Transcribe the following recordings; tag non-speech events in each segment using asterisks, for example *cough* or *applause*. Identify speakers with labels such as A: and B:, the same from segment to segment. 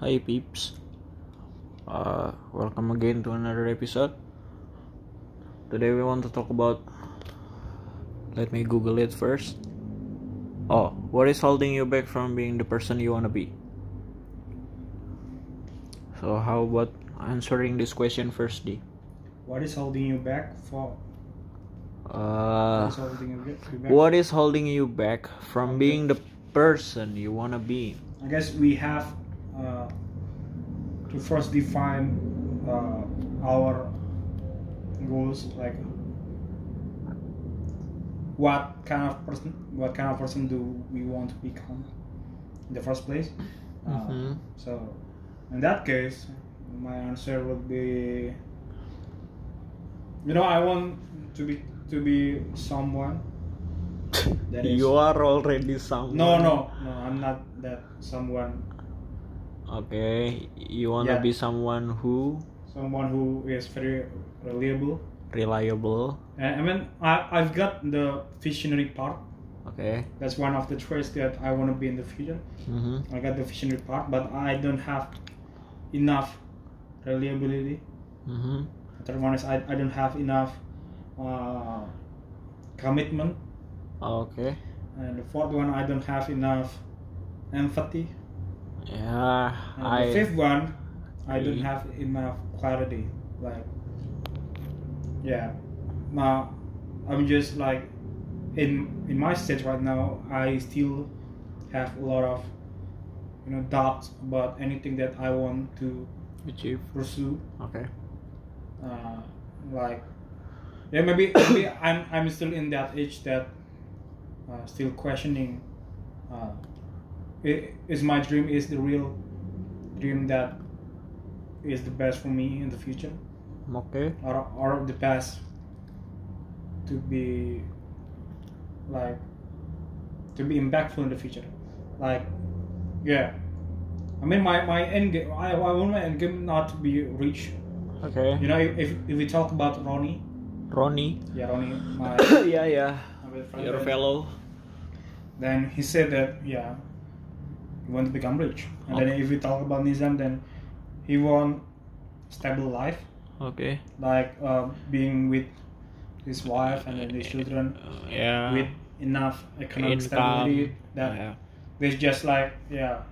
A: Hi peeps. Uh, welcome again to another episode. Today we want to talk about. Let me Google it first. Oh, what is holding you back from being the person you wanna be? So how about answering this question first, D?
B: What is holding you back for?
A: Uh,
B: what is holding you back- you back?
A: what is holding you back from being the person you wanna be?
B: I guess we have uh, to first define uh, our goals, like what kind of person, what kind of person do we want to become in the first place. Uh,
A: Mhm.
B: So, in that case, my answer would be, you know, I want to be to be someone that is.
A: you are already someone.
B: No, no, no, I'm not that someone.
A: Okay, you wanna
B: Yeah.
A: be someone who
B: Someone who is very reliable.
A: reliable.
B: And I mean, I, I've got the visionary part.
A: Okay.
B: That's one of the traits that I want to be in the future.
A: Mm-hmm.
B: I got the visionary part, but I don't have enough reliability.
A: Mm-hmm.
B: The third one is I, I don't have enough uh, commitment.
A: Okay.
B: And the fourth one, I don't have enough empathy.
A: Yeah.
B: And
A: I.
B: Uh, the fifth one, I don't
A: I-
B: have enough clarity. Like, yeah, now I'm just like in in my stage right now. I still have a lot of you know doubts about anything that I want to
A: Achieve.
B: pursue.
A: Okay.
B: Uh, like, yeah, maybe *coughs* maybe I'm I'm still in that age that uh, still questioning. Uh, i- is my dream is the real dream that is the best for me in the future,
A: Okay.
B: or or the best to be like to be impactful in the future, like yeah. I mean, my, my end game. I, I want my end game not to be rich.
A: Okay.
B: You know, if, if if we talk about Ronnie,
A: Ronnie.
B: yeah, Ronnie,
A: *coughs*
B: my,
A: yeah, yeah.
B: my best friend,
A: Your
B: then-
A: fellow.
B: then he said that yeah, he want to become rich. And then
A: Okay.
B: if we talk about Nizam, then he want stable life,
A: Okay.
B: like uh, being with his wife and then his children
A: Uh, yeah.
B: with enough
A: income.
B: economic stability. That
A: yeah.
B: there's just like yeah,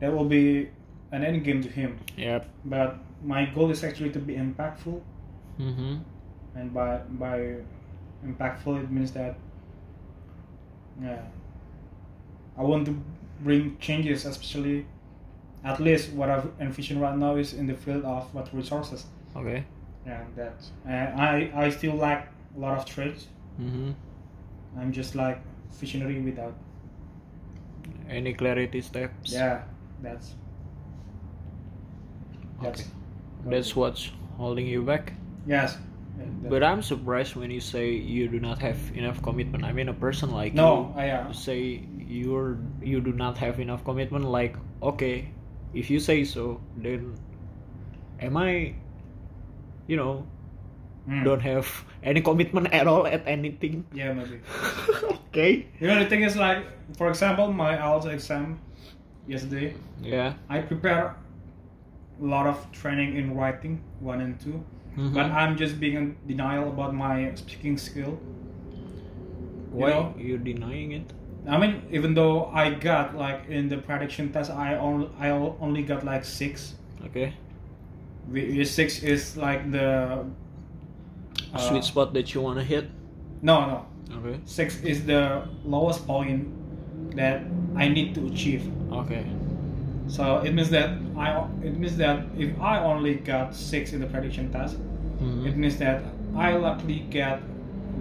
B: that will be an end game to him.
A: Yep.
B: But my goal is actually to be impactful
A: Mm-hmm.
B: and by by impactful it means that yeah i want to bring changes especially at least what i've envisioned right now is in the field of what resources
A: Okay.
B: and that and i i still lack a lot of traits
A: Mm-hmm.
B: i'm just like visionary without
A: Any clarity steps?
B: yeah that's that's
A: Okay. That's what's holding you back.
B: yes yeah, that-
A: But I'm surprised when you say you do not have enough commitment. I mean, a person like
B: no
A: you
B: i uh, am
A: you say you're you do not have enough commitment. Like, okay, if you say so, then am I, you know,
B: Mm.
A: don't have any commitment at all at anything? *laughs*
B: yeah maybe
A: okay.
B: you know the thing is like for example my IELTS exam yesterday
A: Yeah.
B: I prepare a lot of training in writing one and 2
A: Mhm.
B: but uh, I'm just being in denial about my speaking skill.
A: Why
B: know-
A: you're denying it?
B: I mean, even though I got like in the prediction test, I only I o- only got like six.
A: Okay.
B: Wh- Six is like the uh,
A: Sweet spot that you wanna hit.
B: No, no,
A: Okay.
B: six is the lowest point that I need to achieve.
A: Okay.
B: So it means that I o- it means that if I only got six in the prediction test,
A: Mhm.
B: It means that I likely get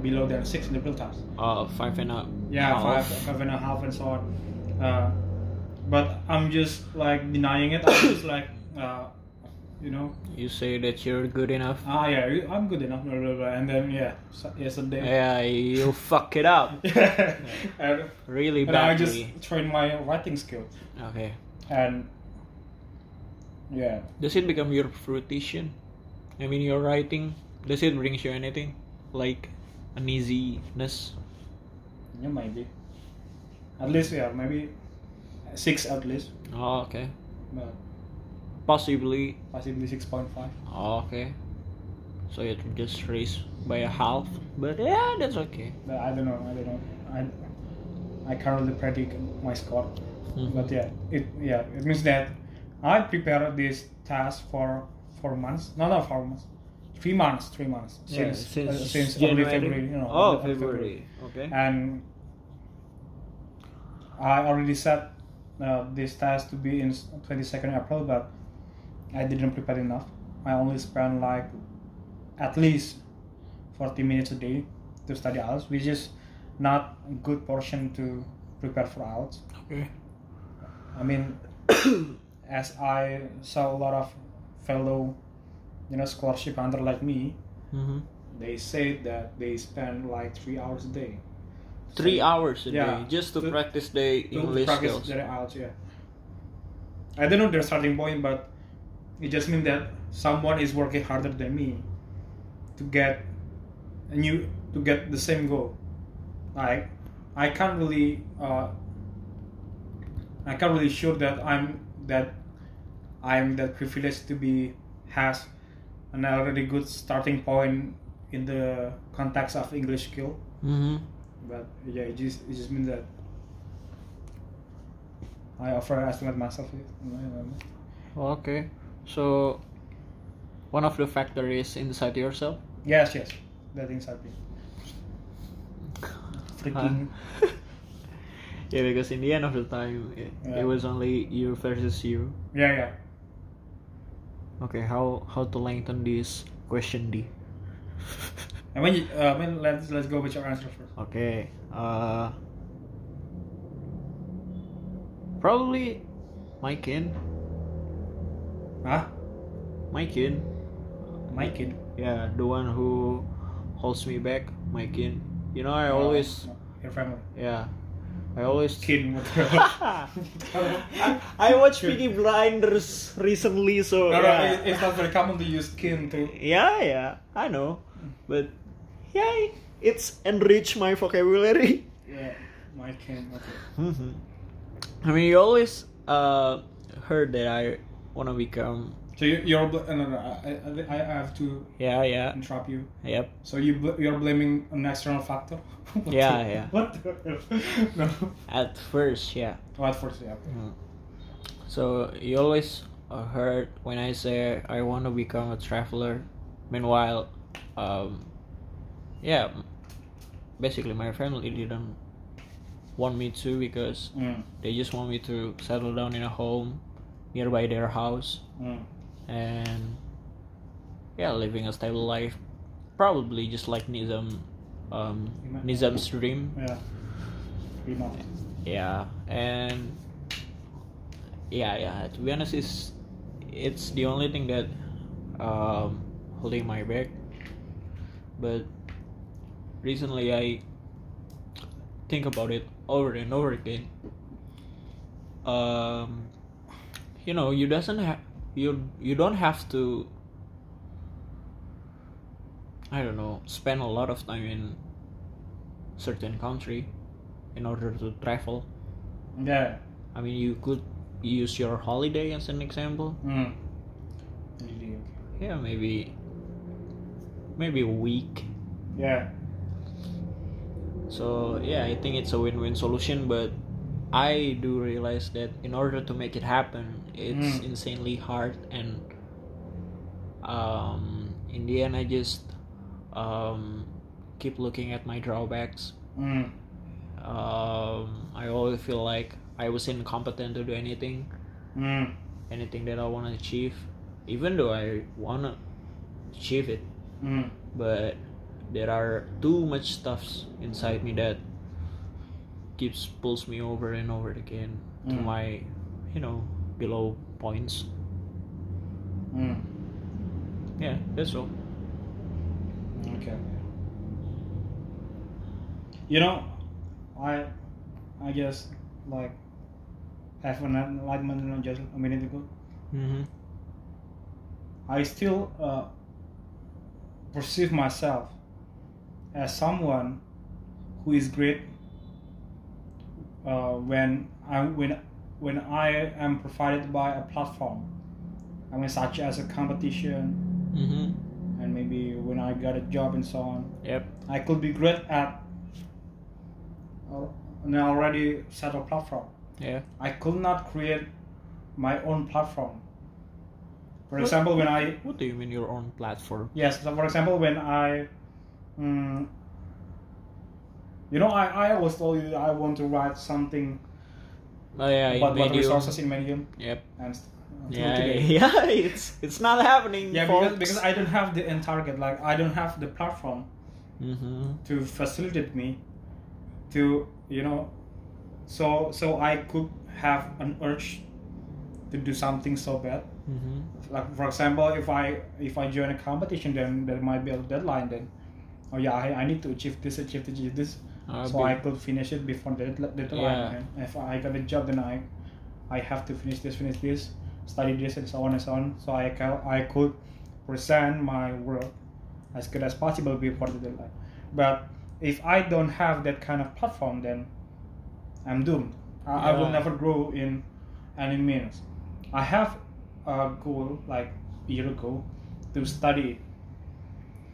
B: below than six liberal taps.
A: Uh, five and a
B: Yeah,
A: half.
B: five, five and a half, and so on. Uh, but I'm just like denying it. I'm just like, uh, you know,
A: You say that you're good enough.
B: ah, yeah, you- I'm good enough, blah, blah, blah. And then, yeah, so, yesterday.
A: Yeah, you fuck it up
B: *laughs* and,
A: really
B: and I
A: badly.
B: just trained my writing skill.
A: Okay.
B: And, yeah.
A: Does it become your fruition? I mean, your writing. Does it brings you anything like uneasiness?
B: Yeah, maybe. At least, yeah, maybe six at least.
A: Oh, okay.
B: but
A: Possibly.
B: possibly 6.5.
A: Oh, Okay. So it just raised by a half. But yeah, that's okay.
B: But I don't know. I don't know. I I can't really predict my score.
A: Mm-hmm.
B: But yeah, it yeah it means that I prepared this task for four months. No, not four months. Three months. Three months
A: Yeah,
B: since uh, since early February. You know, Uh,
A: oh,
B: early
A: February. Okay.
B: And I already set uh, this task to be in 22nd April, but I didn't prepare enough. I only spent like at least 40 minutes a day to study IELTS, which is not a good portion to prepare for IELTS.
A: Okay.
B: I mean, *coughs* as I saw a lot of fellow, you know, scholarship hunter like me,
A: Mm-hmm.
B: they said that they spend like three hours a day.
A: Three hours a
B: Yeah.
A: day just to,
B: To-
A: practice the
B: to
A: English
B: practice
A: skills.
B: their out, yeah. I don't know their starting point, but it just means that someone is working harder than me to get a new to get the same goal. I I can't really uh, I can't really sure that I'm that I'm that privileged to be has an already good starting point in the context of English skill.
A: Mm-hmm.
B: But yeah, it just it just means that I offer estimate myself. you know,
A: Okay. So one of the factor is inside yourself.
B: Yes, yes, that things happen. Freaking
A: Huh? yeah, because in the end of the time, it,
B: Yeah.
A: it was only you versus you.
B: yeah, yeah.
A: Okay, how how to lengthen this question D? *laughs*
B: I mean, you- uh, I mean, let's let's go with your answer first.
A: okay. Uh, probably my kin,
B: Huh?
A: my kin.
B: My kid.
A: Yeah, the one who holds me back, my kin. You know, I always
B: No, your family.
A: yeah, I always
B: Kid. What the
A: I, *laughs* I watched Peaky Blinders recently, so
B: No, no,
A: yeah.
B: it- it's not very common to use kin to.
A: yeah, yeah, I know, but yeah, it's enriched my vocabulary.
B: Yeah, my kin. Okay.
A: Mhm. *laughs* I mean, you always uh, heard that I wanna become
B: So you, you're bl- uh, no, no. I, I, I have to
A: yeah, yeah,
B: interrupt you.
A: yep,
B: So you bl- you're blaming an external factor? *laughs* What
A: Yeah,
B: the-
A: yeah.
B: *laughs* What the *laughs* no. Oh,
A: at first, yeah.
B: What for yeah. okay.
A: Mm-hmm. So you always uh, heard when I say I want to become a traveler. Meanwhile, um, yeah, basically my family didn't want me to because
B: Mm,
A: they just want me to settle down in a home nearby their house
B: mm,
A: and yeah, living a stable life. Probably just like Nizam, um, Nizam's dream.
B: yeah. Pretty much.
A: Yeah, and yeah, yeah. To be honest, it's it's the only thing that um, holding my back. But recently, I think about it over and over again. Um, you know, you doesn't have you you don't have to. I don't know. Spend a lot of time in certain country in order to travel.
B: Yeah.
A: I mean, you could use your holiday as an example.
B: Mm. Really, okay.
A: Yeah, maybe, maybe a week.
B: Yeah.
A: So yeah, I think it's a win-win solution. But I do realize that in order to make it happen, it's
B: Mm.
A: insanely hard, and um, in the end, I just um, keep looking at my drawbacks.
B: Mm.
A: Um, I always feel like I was incompetent to do anything.
B: Mm.
A: anything that I want to achieve, even though I want to achieve it,
B: Mm.
A: but there are too much stuffs inside me that keeps pulls me over and over again to
B: Mm.
A: my, you know, below points.
B: Mm.
A: Yeah, that's all.
B: Okay. You know, I, I guess like, have an enlightenment you know, just a minute ago.
A: Mm-hmm.
B: I still uh, perceive myself as someone who is great uh, when I when when I am provided by a platform. I mean, such as a competition,
A: Mm-hmm.
B: and maybe when I got a job and so on.
A: Yep.
B: I could be great at uh, an already settled platform.
A: Yeah.
B: I could not create my own platform. For
A: What-
B: example, when I
A: What do you mean your own platform?
B: yes, so for example, when I, mm, you know, I, I always told you that I want to write something
A: Oh yeah, in
B: about water
A: Medium.
B: resources in Medium
A: Yep.
B: and st- until
A: Yeah,
B: today.
A: *laughs* yeah. It's it's not happening.
B: Yeah, because, because I don't have the end target. Like I don't have the platform
A: mm-hmm.
B: to facilitate me to you know so so i could have an urge to do something so bad
A: Mm-hmm.
B: like for example if i if i join a competition then there might be a deadline then oh yeah i, I need to achieve this achieve this achieve this
A: Uh,
B: so
A: be-
B: i could finish it before the deadli- deadline
A: Yeah.
B: And if i got a job then i i have to finish this finish this study this and so on and so on so i can i could present my work as good as possible before the deadline but if i don't have that kind of platform then i'm doomed i, I will
A: Yeah.
B: never grow in any means i have a goal like a year ago to study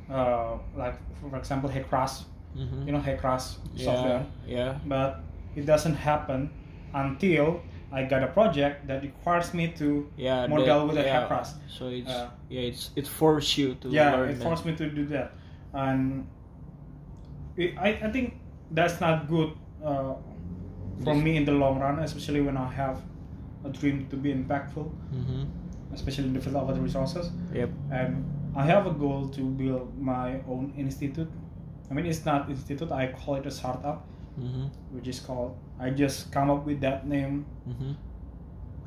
B: uh, like for example Hecras
A: Mhm.
B: you know Hecras
A: yeah,
B: software
A: Yeah.
B: but it doesn't happen until I got a project that requires me to
A: Yeah.
B: model with a
A: yeah.
B: Hecras.
A: So it's
B: Uh,
A: yeah, it's it forced you to
B: yeah,
A: learn
B: it
A: that.
B: forced me to do that, and it, I I think that's not good uh, for
A: Yes.
B: me in the long run, especially when I have a dream to be impactful,
A: Mm-hmm.
B: especially in the field of other resources.
A: Yep.
B: and I have a goal to build my own institute. I mean, it's not institute. I call it a startup,
A: Mm-hmm.
B: which is called. I just come up with that name
A: Mm-hmm.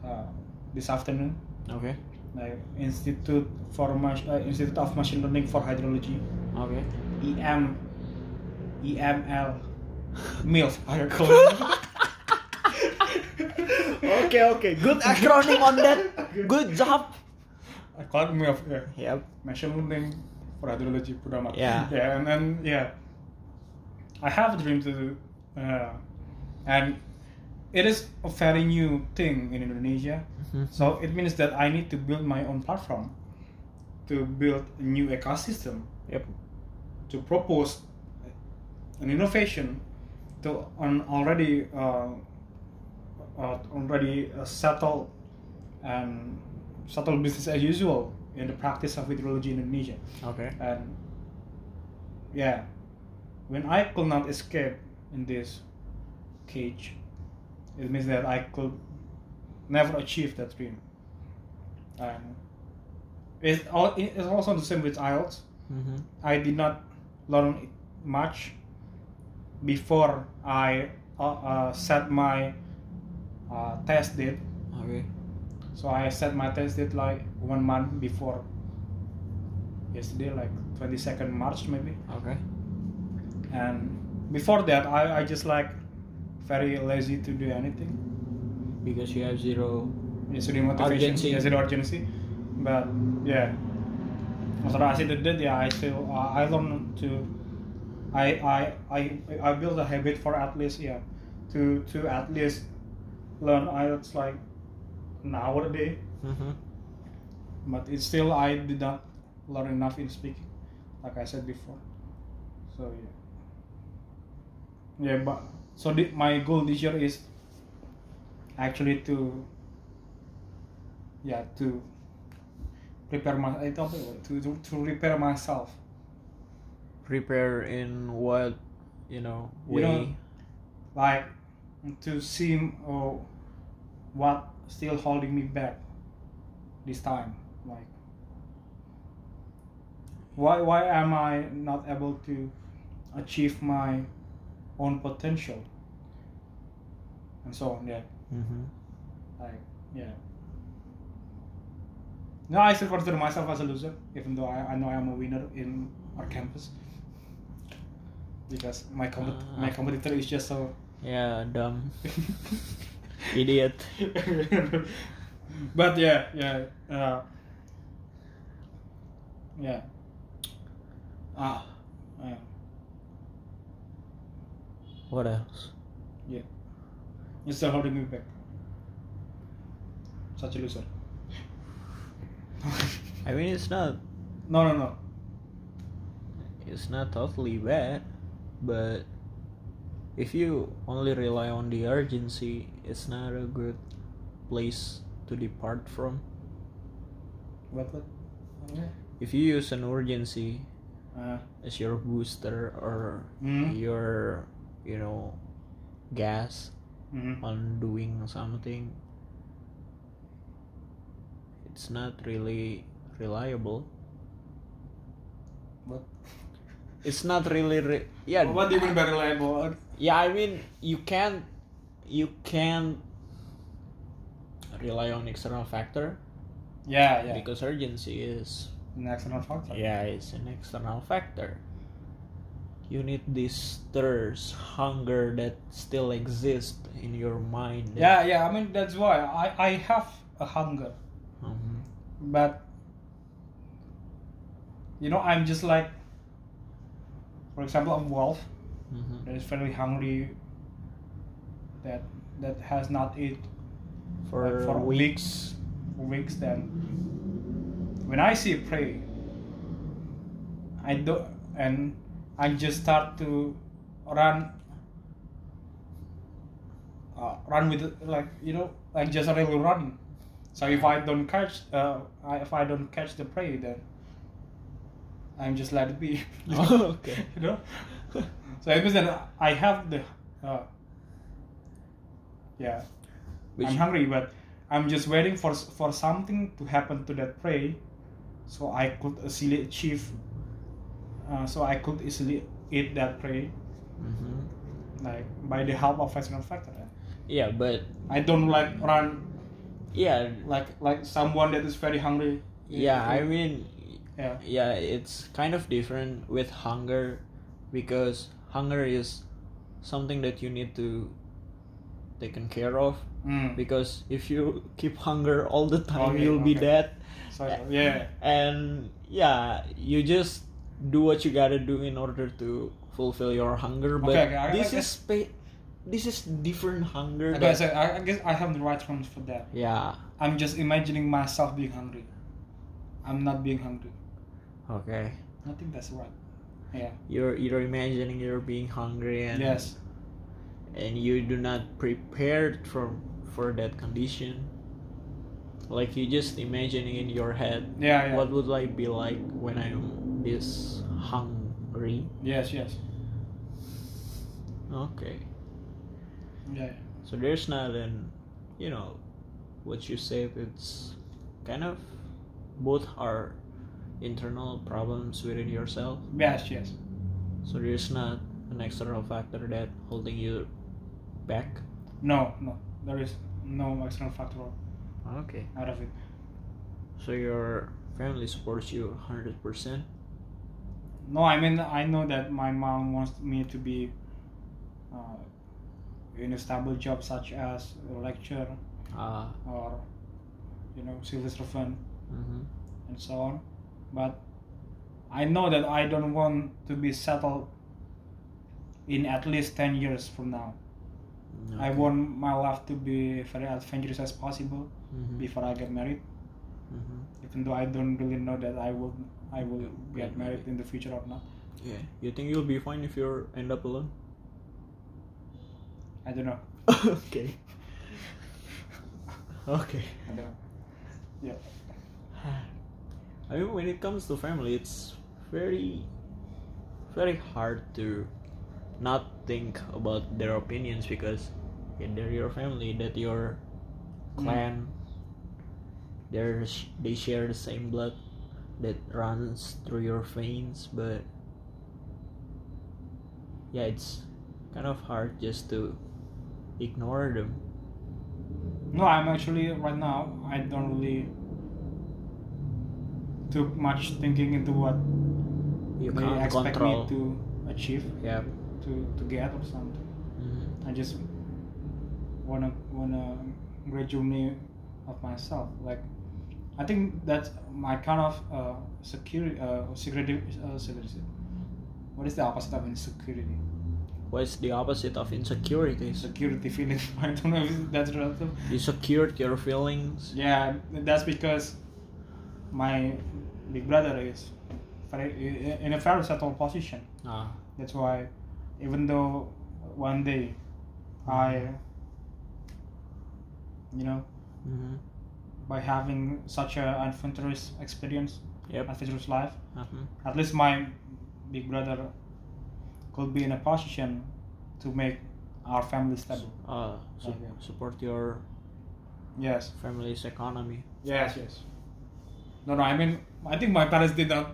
B: uh, this afternoon.
A: Okay.
B: Like Institute for Mach- uh, Institute of Machine Learning for Hydrology, E
A: Okay.
B: EM, EML, MILF. I call it.
A: *laughs* okay, okay. *laughs* Good acronym on
B: *laughs*
A: that. Good job.
B: I call it MILF. Yeah.
A: Yep.
B: machine learning for hydrology program.
A: Yeah.
B: Yeah, and then yeah, I have a dream to do, uh, and it is a very new thing in Indonesia.
A: Mhm.
B: So it means that I need to build my own platform to build a new ecosystem
A: Yep.
B: to propose an innovation to an already uh, uh, already uh, settled and settled business as usual in the practice of hydrology in Indonesia.
A: Okay.
B: And yeah, when I could not escape in this cage, it means that I could never achieve that dream. And it's, all, it's also the same with IELTS.
A: Mm-hmm.
B: I did not learn much before I uh, uh, set my uh, test date.
A: Okay.
B: So I set my test date like one month before yesterday, like 22nd March maybe.
A: Okay.
B: And before that, I, I just like very lazy to do anything.
A: Because you have zero.
B: yesterday motivation
A: Urgency.
B: yesterday urgency but yeah after I said that yeah I still I I learned to I I I I build a habit for at least yeah to to at least learn IELTS like an hour a day
A: Mm-hmm.
B: but it's still I did not learn enough in speaking like I said before so yeah yeah but so the, my goal this year is actually to yeah to prepare my I don't know, to, to to repair myself
A: Prepare in what, you know,
B: You
A: way.
B: know- like to see oh, what still holding me back this time like why why am i not able to achieve my own potential and so on yeah
A: mm-hmm.
B: like yeah no i still consider myself as a loser even though i, I know i'm a winner in our campus because my compet-
A: Ah.
B: my competitor is just so
A: Yeah, dumb. Idiot.
B: but yeah, yeah, uh, yeah. Ah, yeah.
A: What else?
B: It's still holding me back. such a loser. *laughs*
A: I mean, it's not
B: no, no, no.
A: it's not totally bad, but if you only rely on the urgency, it's not a good place to depart from.
B: What? What?
A: If you use an urgency
B: Uh,
A: as your booster or
B: mm,
A: your, you know, gas
B: mm,
A: on doing something, it's not really reliable.
B: What?
A: It's not really, re- yeah.
B: What do you mean by reliable?
A: Yeah, I mean you can't you can't rely on external factor
B: Yeah, yeah.
A: because urgency is
B: An external factor.
A: yeah, it's an external factor. You need this thirst, hunger that still exists in your mind.
B: Yeah, yeah. I mean that's why I, I have a hunger,
A: Mhm.
B: but you know I'm just like, for example, I'm wolf
A: Mhm.
B: that is very hungry. That that has not eat
A: For,
B: Like for
A: weeks. *laughs*
B: for weeks. Then when I see prey, I do and I just start to run. Uh, run with like you know like just really running. So if I don't catch, uh, I, if I don't catch the prey, then I'm just let it be. *laughs*
A: Oh, okay.
B: you know. So it means that I have the, uh, yeah,
A: Which-
B: I'm hungry, but I'm just waiting for for something to happen to that prey, so I could easily achieve. Uh, so I could easily eat that prey,
A: Mhm.
B: like by the help of external factor.
A: Yeah, but
B: I don't like
A: Mm.
B: run
A: yeah,
B: like like someone that is very hungry.
A: yeah, I mean
B: yeah,
A: yeah it's kind of different with hunger because hunger is something that you need to taken care of
B: Mm.
A: because if you *laughs* keep hunger all the time
B: Okay,
A: you'll be
B: okay.
A: dead
B: So yeah,
A: and yeah you just do what you gotta do in order to fulfill your hunger but
B: Okay, okay, I-
A: this
B: I-
A: is pa- this is different hunger
B: I
A: that-
B: guess I, I guess I have the right terms for that.
A: yeah
B: I'm just imagining myself being hungry. I'm not being hungry.
A: okay
B: I think that's right.
A: you're you're imagining you're being hungry and
B: yes.
A: and you do not prepare for for that condition like you just imagining in your head
B: Yeah, yeah.
A: what would i be like when i'm this hungry
B: Yes, yes.
A: okay
B: Yeah.
A: so there's not an you know what you said it's kind of both are internal problems within yourself
B: Yes, yes.
A: so there's not an external factor that holding you back
B: No, no. There is no external factor
A: okay
B: out of it.
A: so your family supports you 100%
B: No, I mean I know that my mom wants me to be uh, in a stable job such as a lecturer
A: ah
B: or you know civil servant
A: hmm
B: and so on. But I know that I don't want to be settled in at least ten years from now. I want my life to be very adventurous as possible
A: hmm
B: before I get married.
A: Mm-hmm.
B: Even though I don't really know that I will I will get married in the future or not.
A: Yeah. You think you'll be fine if you end up alone?
B: I don't know.
A: okay. *laughs* okay.
B: I don't know.
A: *sighs* I mean, when it comes to family, it's very, very hard to not think about their opinions because yeah, they're your family, that your
B: Mm.
A: clan, they're sh- they share the same blood that runs through your veins, but yeah, it's kind of hard just to ignore them.
B: No, I'm actually right now I don't really too much thinking into what
A: You
B: they
A: can't
B: expect
A: control.
B: me to achieve
A: Yeah.
B: to, to get or something.
A: Mhm.
B: I just wanna wanna gradually of myself. Like I think that's my kind of uh, security, uh, security, uh, security. What is the opposite of insecurity?
A: What's the opposite of insecurities?
B: Security *laughs* feeling. I don't know if that's relative.
A: You secured your feelings.
B: Yeah, that's because my big brother is very, in a very settled position.
A: Ah,
B: That's why, even though one day I, you know, Mm-hmm.
A: mhm,
B: by having such an adventurous experience,
A: Yep.
B: adventurous life,
A: mhm.
B: at least my big brother could be in a position to make our family stable.
A: Ah, su-
B: Okay.
A: support your
B: Yes,
A: family's economy.
B: yes, yes. No, no, I mean, I think my parents did not.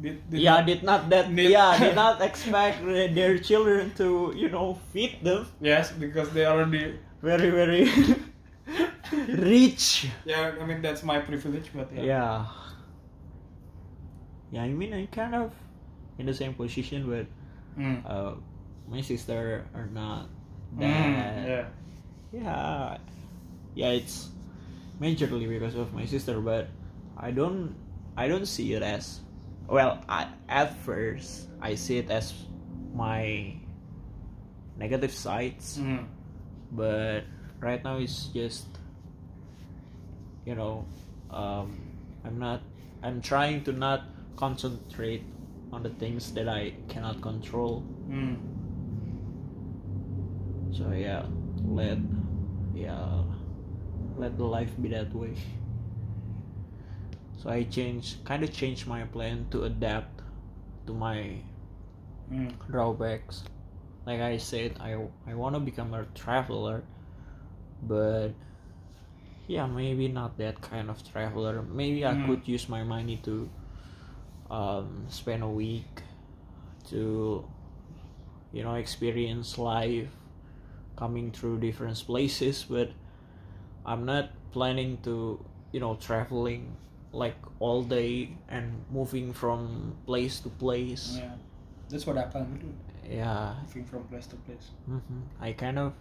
B: Did, did
A: yeah,
B: not-
A: did not that.
B: Did-
A: yeah,
B: *laughs*
A: did not expect uh, their children to you know feed them
B: Yes, because they already.
A: very very *laughs* rich.
B: Yeah, I mean, that's my privilege, but yeah.
A: Yeah. Yeah, I mean I'm kind of in the same position, but
B: Mm.
A: uh, my sister are not
B: Mm,
A: that.
B: yeah.
A: yeah yeah it's majorly because of my sister but i don't i don't see it as well I, at first i see it as my negative sides
B: Mm.
A: but right now it's just you know um, i'm not i'm trying to not concentrate on the things that i cannot control
B: Mm.
A: So yeah, let yeah let the life be that way. So I changed kind of changed my plan to adapt to my
B: Mm.
A: drawbacks. Like I said, I I want to become a traveler, but yeah, maybe not that kind of traveler. Maybe I
B: Mm.
A: could use my money to um, spend a week to you know experience life, coming through different places. But I'm not planning to you know traveling like all day and moving from place to place.
B: Yeah. That's what I plan to do.
A: yeah
B: Moving from place to place.
A: hmm I kind of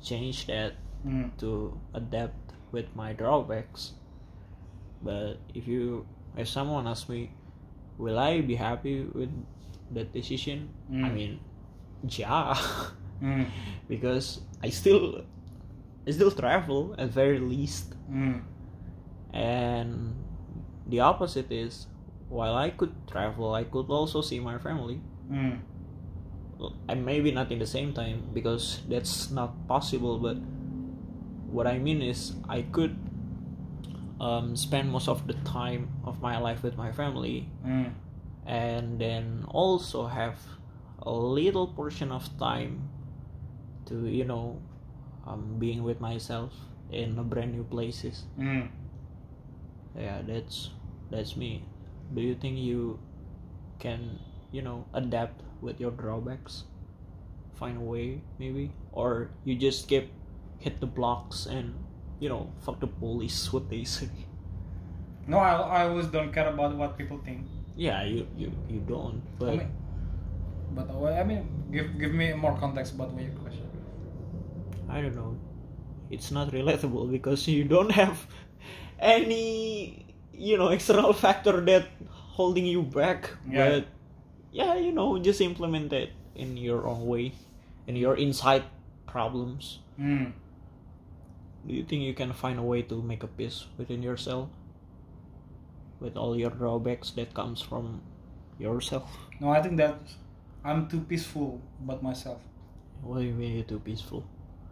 A: changed that
B: Mm.
A: to adapt with my drawbacks. But if you, if someone asks me, will I be happy with that decision? I
B: Mm.
A: mean, yeah, *laughs*
B: Mm.
A: because I still, I still travel at very least,
B: Mm.
A: and the opposite is, while I could travel, I could also see my family.
B: Mm.
A: and maybe not in the same time because that's not possible but what i mean is i could um, spend most of the time of my life with my family
B: Mm.
A: and then also have a little portion of time to you know um, being with myself in a brand new places
B: Mm.
A: yeah that's that's me do you think you can you know adapt with your drawbacks find a way maybe or you just keep hit the blocks and you know fuck the police *laughs* what they say
B: No, I, I always don't care about what people think.
A: yeah you you, you don't but
B: I mean, but uh, I mean, give give me more context about what your question.
A: i don't know it's not relatable because you don't have any you know external factor that holding you back
B: Yeah.
A: but yeah you know just implement it in your own way in your inside problems
B: Mm.
A: do you think you can find a way to make a peace within yourself with all your drawbacks that comes from yourself
B: No, I think that I'm too peaceful about myself.
A: what do you mean you're too *laughs* peaceful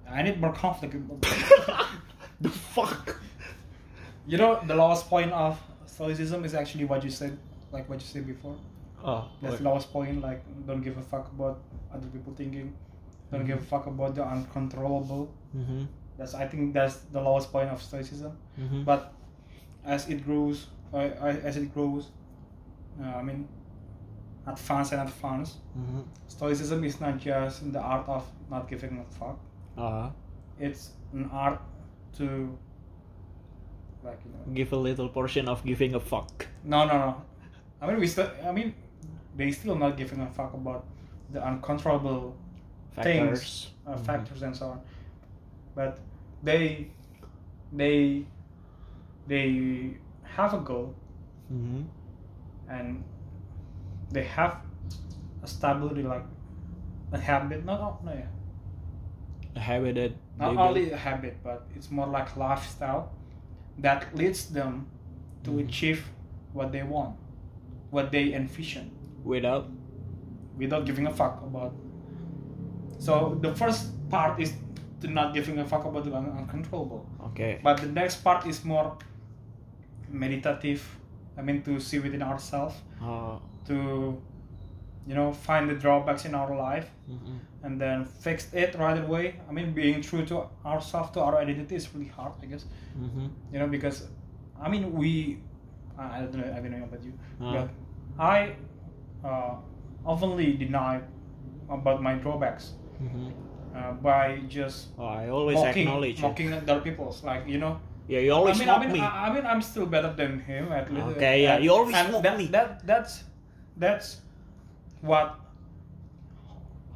B: I need more conflict.
A: the fuck
B: you know, the lowest point of stoicism is actually what you said, like what you said before.
A: oh
B: That's
A: what-
B: the lowest point. Like, don't give a fuck about other people thinking. Don't give a fuck about the uncontrollable.
A: Mhm,
B: That's I think that's the lowest point of stoicism.
A: mhm.
B: But as it grows, uh, as it grows, uh, I mean, advance and advance.
A: Mhm.
B: Stoicism is not just the art of not giving a fuck.
A: Uh,
B: It's an art to, like you know,
A: give a little portion of giving a fuck
B: no, no, no. I mean, we still. I mean, they still not giving a fuck about the uncontrollable
A: factors
B: uh,
A: Mhm.
B: factors and so on. But they, they, they have a goal
A: Mhm.
B: and they have a stability, like a habit. No, no, no. Yeah.
A: a habit that
B: Not
A: they
B: only
A: build.
B: a habit, but it's more like lifestyle that leads them to
A: Mhm.
B: achieve what they want, what they envision,
A: without
B: without giving a fuck about. So the first part is to not giving a fuck about the un- uncontrollable.
A: okay
B: But the next part is more meditative. I mean, to see within ourselves,
A: uh,
B: to you know, find the drawbacks in our life,
A: mm-mm.
B: and then fix it right away. I mean, being true to ourselves, to our identity is really hard, I guess.
A: Mm-hmm.
B: You know, because I mean, we I I don't know, I don't know about you,
A: Uh.
B: but I uh, oftenly deny about my drawbacks
A: Mm-hmm.
B: uh, by just
A: Oh, I always
B: mocking,
A: acknowledge it.
B: mocking other people's, like you know.
A: Yeah, you always
B: I mean,
A: mock
B: I mean,
A: me.
B: I, I mean, I'm still better than him at least.
A: Okay, yeah,
B: And-
A: you always
B: and
A: mock
B: that,
A: me.
B: That that's that's what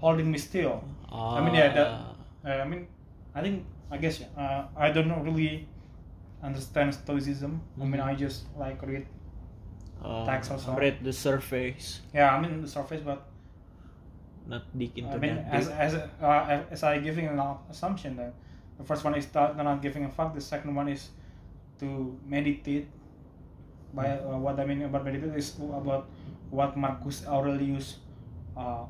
B: holding me still. I mean, yeah, that,
A: Ah,
B: uh, I mean, I think I guess yeah, uh, I don't know really understand Stoicism. I mean,
A: Mhm.
B: I just like read.
A: uh,
B: tax also.
A: Read the surface,
B: Yeah, I mean the surface, but
A: not dig into
B: I mean,
A: that.
B: as
A: deep.
B: as uh, as I giving an assumption that the first one is that they're not giving a fuck. The second one is to meditate. By
A: Hmm.
B: uh, what I mean about meditate is about what Marcus Aurelius uh, uh,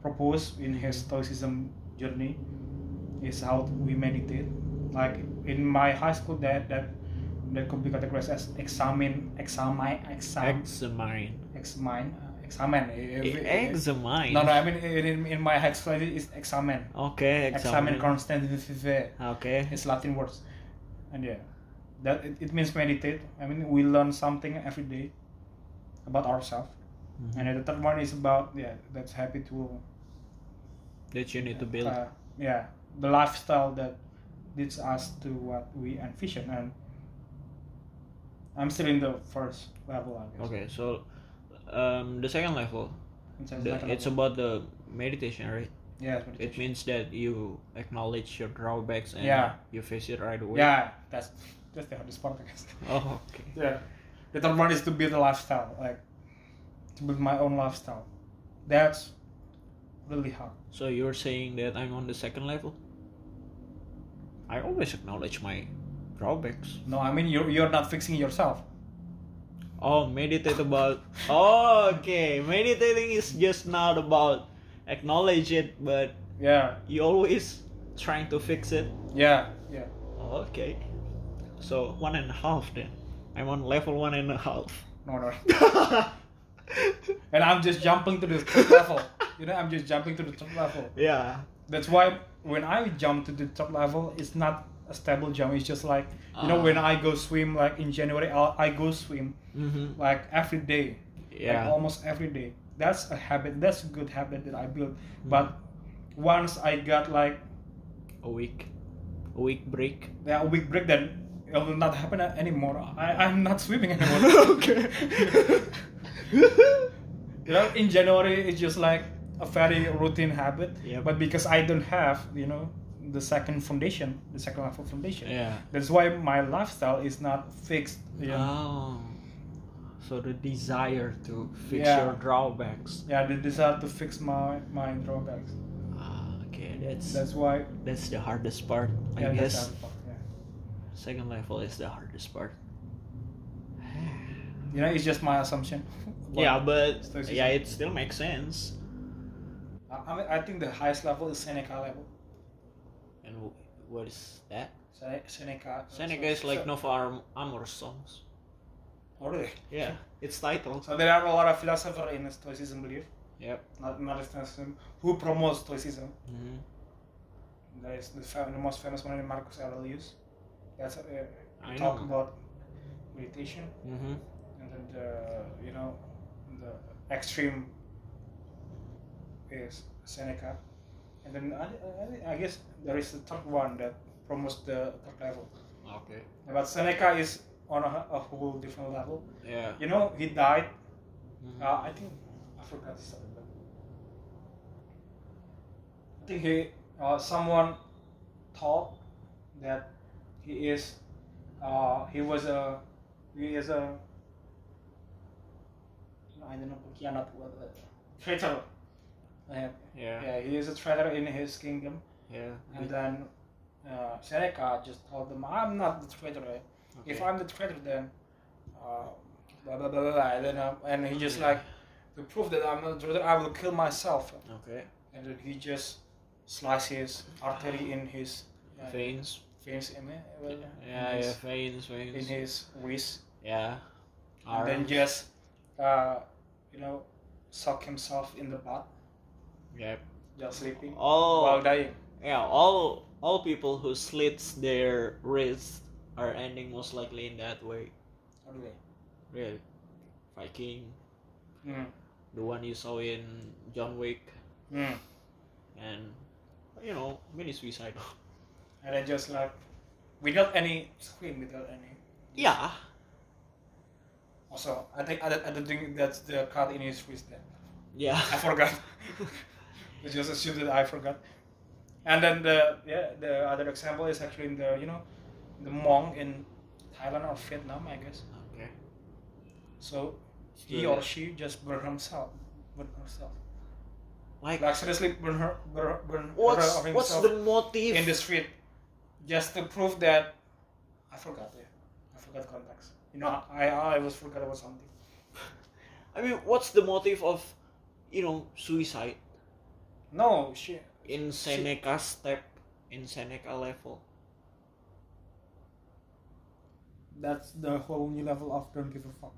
B: proposed in his Stoicism journey is how we meditate. Like in my high school, that that that could be categorized as examine, examine, exam,
A: Examine.
B: examine, uh, examine.
A: E,
B: If- if-
A: Examine.
B: no, no, I mean in, in, in my high school it is examen.
A: Okay, examine.
B: Examen constant vive.
A: okay.
B: It's Latin words. And yeah. That it, it means meditate. I mean we learn something every day about ourselves.
A: Mhm.
B: And then the third one is about yeah, that's happy to
A: That you need to build.
B: uh, yeah, the lifestyle that leads us to what we envision and I'm still in the first level I guess.
A: okay, so um, the second level,
B: It's,
A: the, it's about the meditation, right?
B: yeah,
A: It
B: meditation.
A: means that you acknowledge your drawbacks and
B: Yeah.
A: you face it right away.
B: yeah, that's that's the hardest part I guess. *laughs*
A: Oh, okay.
B: Yeah. The third one is to build a lifestyle, like to build my own lifestyle. That's really hard.
A: So you're saying that I'm on the second level? I always acknowledge my drawbacks.
B: No, I mean you're you're not fixing yourself.
A: Oh, meditate about. Oh, okay. Meditating is just not about acknowledge it, but
B: Yeah,
A: you always trying to fix it. Oh,
B: yeah, yeah.
A: Okay. So one and a half then. I'm on level one and a half. *laughs*
B: No, no. And I'm just jumping to the third *laughs* level. You know, I'm just jumping to the third level.
A: yeah.
B: That's why when I jump to the third level, it's not a stable jump. It's just like you
A: Ah.
B: know, when I go swim, like in January, I'll, I go swim
A: Mm-hmm. um,
B: like every day. like
A: Yeah.
B: almost every day that's a habit that's a good habit that i built
A: Hmm.
B: but once i got like
A: A week. A week
B: *laughs*
A: break.
B: yeah, a week break then it will not happen a- anymore I, i'm not swimming
A: *laughs*
B: *laughs* anymore
A: okay.
B: you know in january it's just like a very routine habit
A: Yep.
B: but because i don't have you know the second foundation the second level foundation
A: yeah.
B: that's why my lifestyle is not fixed you know?
A: Oh. So the desire to fix
B: Yeah.
A: your drawbacks.
B: yeah the desire to fix my my drawbacks
A: Ah, okay, that's
B: that's why
A: that's the hardest part.
B: yeah,
A: I
B: that's
A: guess
B: how it works, yeah.
A: second level is the hardest
B: *sighs*
A: part.
B: you know it's just my assumption
A: yeah, but
B: Stoicism.
A: yeah, it still makes sense.
B: I, I, mean, I think the highest level is Seneca level.
A: And w- what is that?
B: Sene- Seneca.
A: Seneca is like Nova Am- Amor songs.
B: Oh, really?
A: Yeah, it's titled.
B: So there are a lot of philosophers in Stoicism belief,
A: Yep.
B: not not Stoicism, who promotes Stoicism.
A: hmm
B: There is the, fa- the most famous one is Marcus Aurelius. That's uh,
A: I
B: talk
A: know.
B: about meditation
A: hmm
B: and then the you know the extreme is Seneca, and then I, I, I guess there is the third one that promotes the third level.
A: Okay.
B: But Seneca is on a, a whole different level.
A: Yeah.
B: You know, he died.
A: Mhm.
B: Uh, I think I forgot his name. but- I think he uh, someone thought that he is uh, he was a he is a I don't know khianat what uh, traitor Uh,
A: Yeah. Mm.
B: yeah, he is a traitor in his kingdom.
A: Yeah.
B: And then uh, Seneca just told them, I'm not the traitor. If I'm the traitor, then uh, blah, blah, blah, blah, blah. And, then, uh, and he just like, to prove that I'm not the traitor, I will kill myself.
A: Okay.
B: And then he just slices his artery in his uh,
A: Veins.
B: veins, in, it, well,
A: Yeah, yeah, yeah,
B: in, his,
A: veins,
B: in
A: veins.
B: his wrist.
A: Yeah.
B: And then
A: Arms.
B: just, uh, you know, suck himself in the butt,
A: Yep.
B: just sleeping while
A: All
B: dying.
A: yeah, all all people who slits their wrists are ending most likely in that way.
B: How do they?
A: Really. Viking,
B: Mm.
A: the one you saw in John Wick
B: Mm.
A: and you know, mini suicide.
B: *laughs* and then just like without any scream, without any.
A: yeah.
B: Also, I think I, don't- I don't think that's the card in his wrist. There,
A: Yeah.
B: I forgot. I just assumed that I forgot. And then the yeah the other example is actually in the you know the monk in Thailand or Vietnam, I guess.
A: *laughs* Okay.
B: So he or she just burn himself, burn herself.
A: Like
B: Like seriously, burn her, burn, burn her
A: what's
B: of
A: what's
B: himself
A: the motive?
B: in the street, just to prove that I forgot. Yeah, I forgot context. You know, I I always forgot about something.
A: I mean, what's the motive of you know suicide
B: No, she.
A: in Seneca's step in Seneca level?
B: That's the whole new level of don't give a fuck.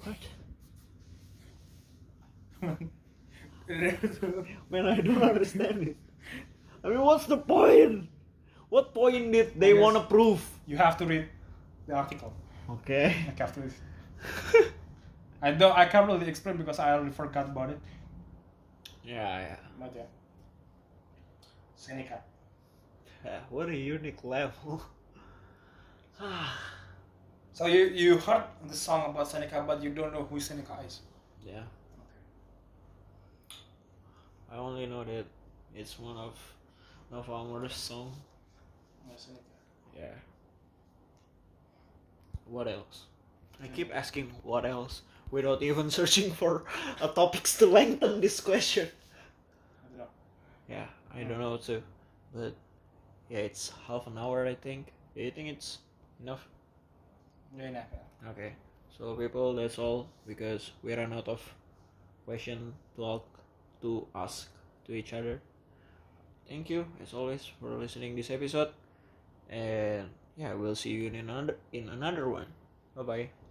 A: What?
B: *laughs*
A: *laughs*
B: they
A: Man, I don't understand it. I mean, what's the point? What point did they
B: guess-
A: want to prove?
B: You have to read the article.
A: *laughs* Okay.
B: Like after this, I don't. I can't really explain because I already forgot about it.
A: yeah,
B: But yeah. Seneca.
A: yeah. What a unique level. *sighs* Ah.
B: So you you heard the song about Seneca, but you don't know who Seneca is.
A: yeah. I only know that it's one of Love Amor's song.
B: Yeah, Seneca.
A: Yeah. What else? I keep asking what else without even searching for a topics to lengthen this question.
B: I don't know.
A: Yeah, I don't know too. But yeah, it's half an hour I think. Do you think it's enough?
B: Yeah, yeah, yeah.
A: Okay. So people that's all because we ran out of question to al- to ask to each other. Thank you as always for listening this episode. And yeah, we'll see you in another in another one. Bye bye.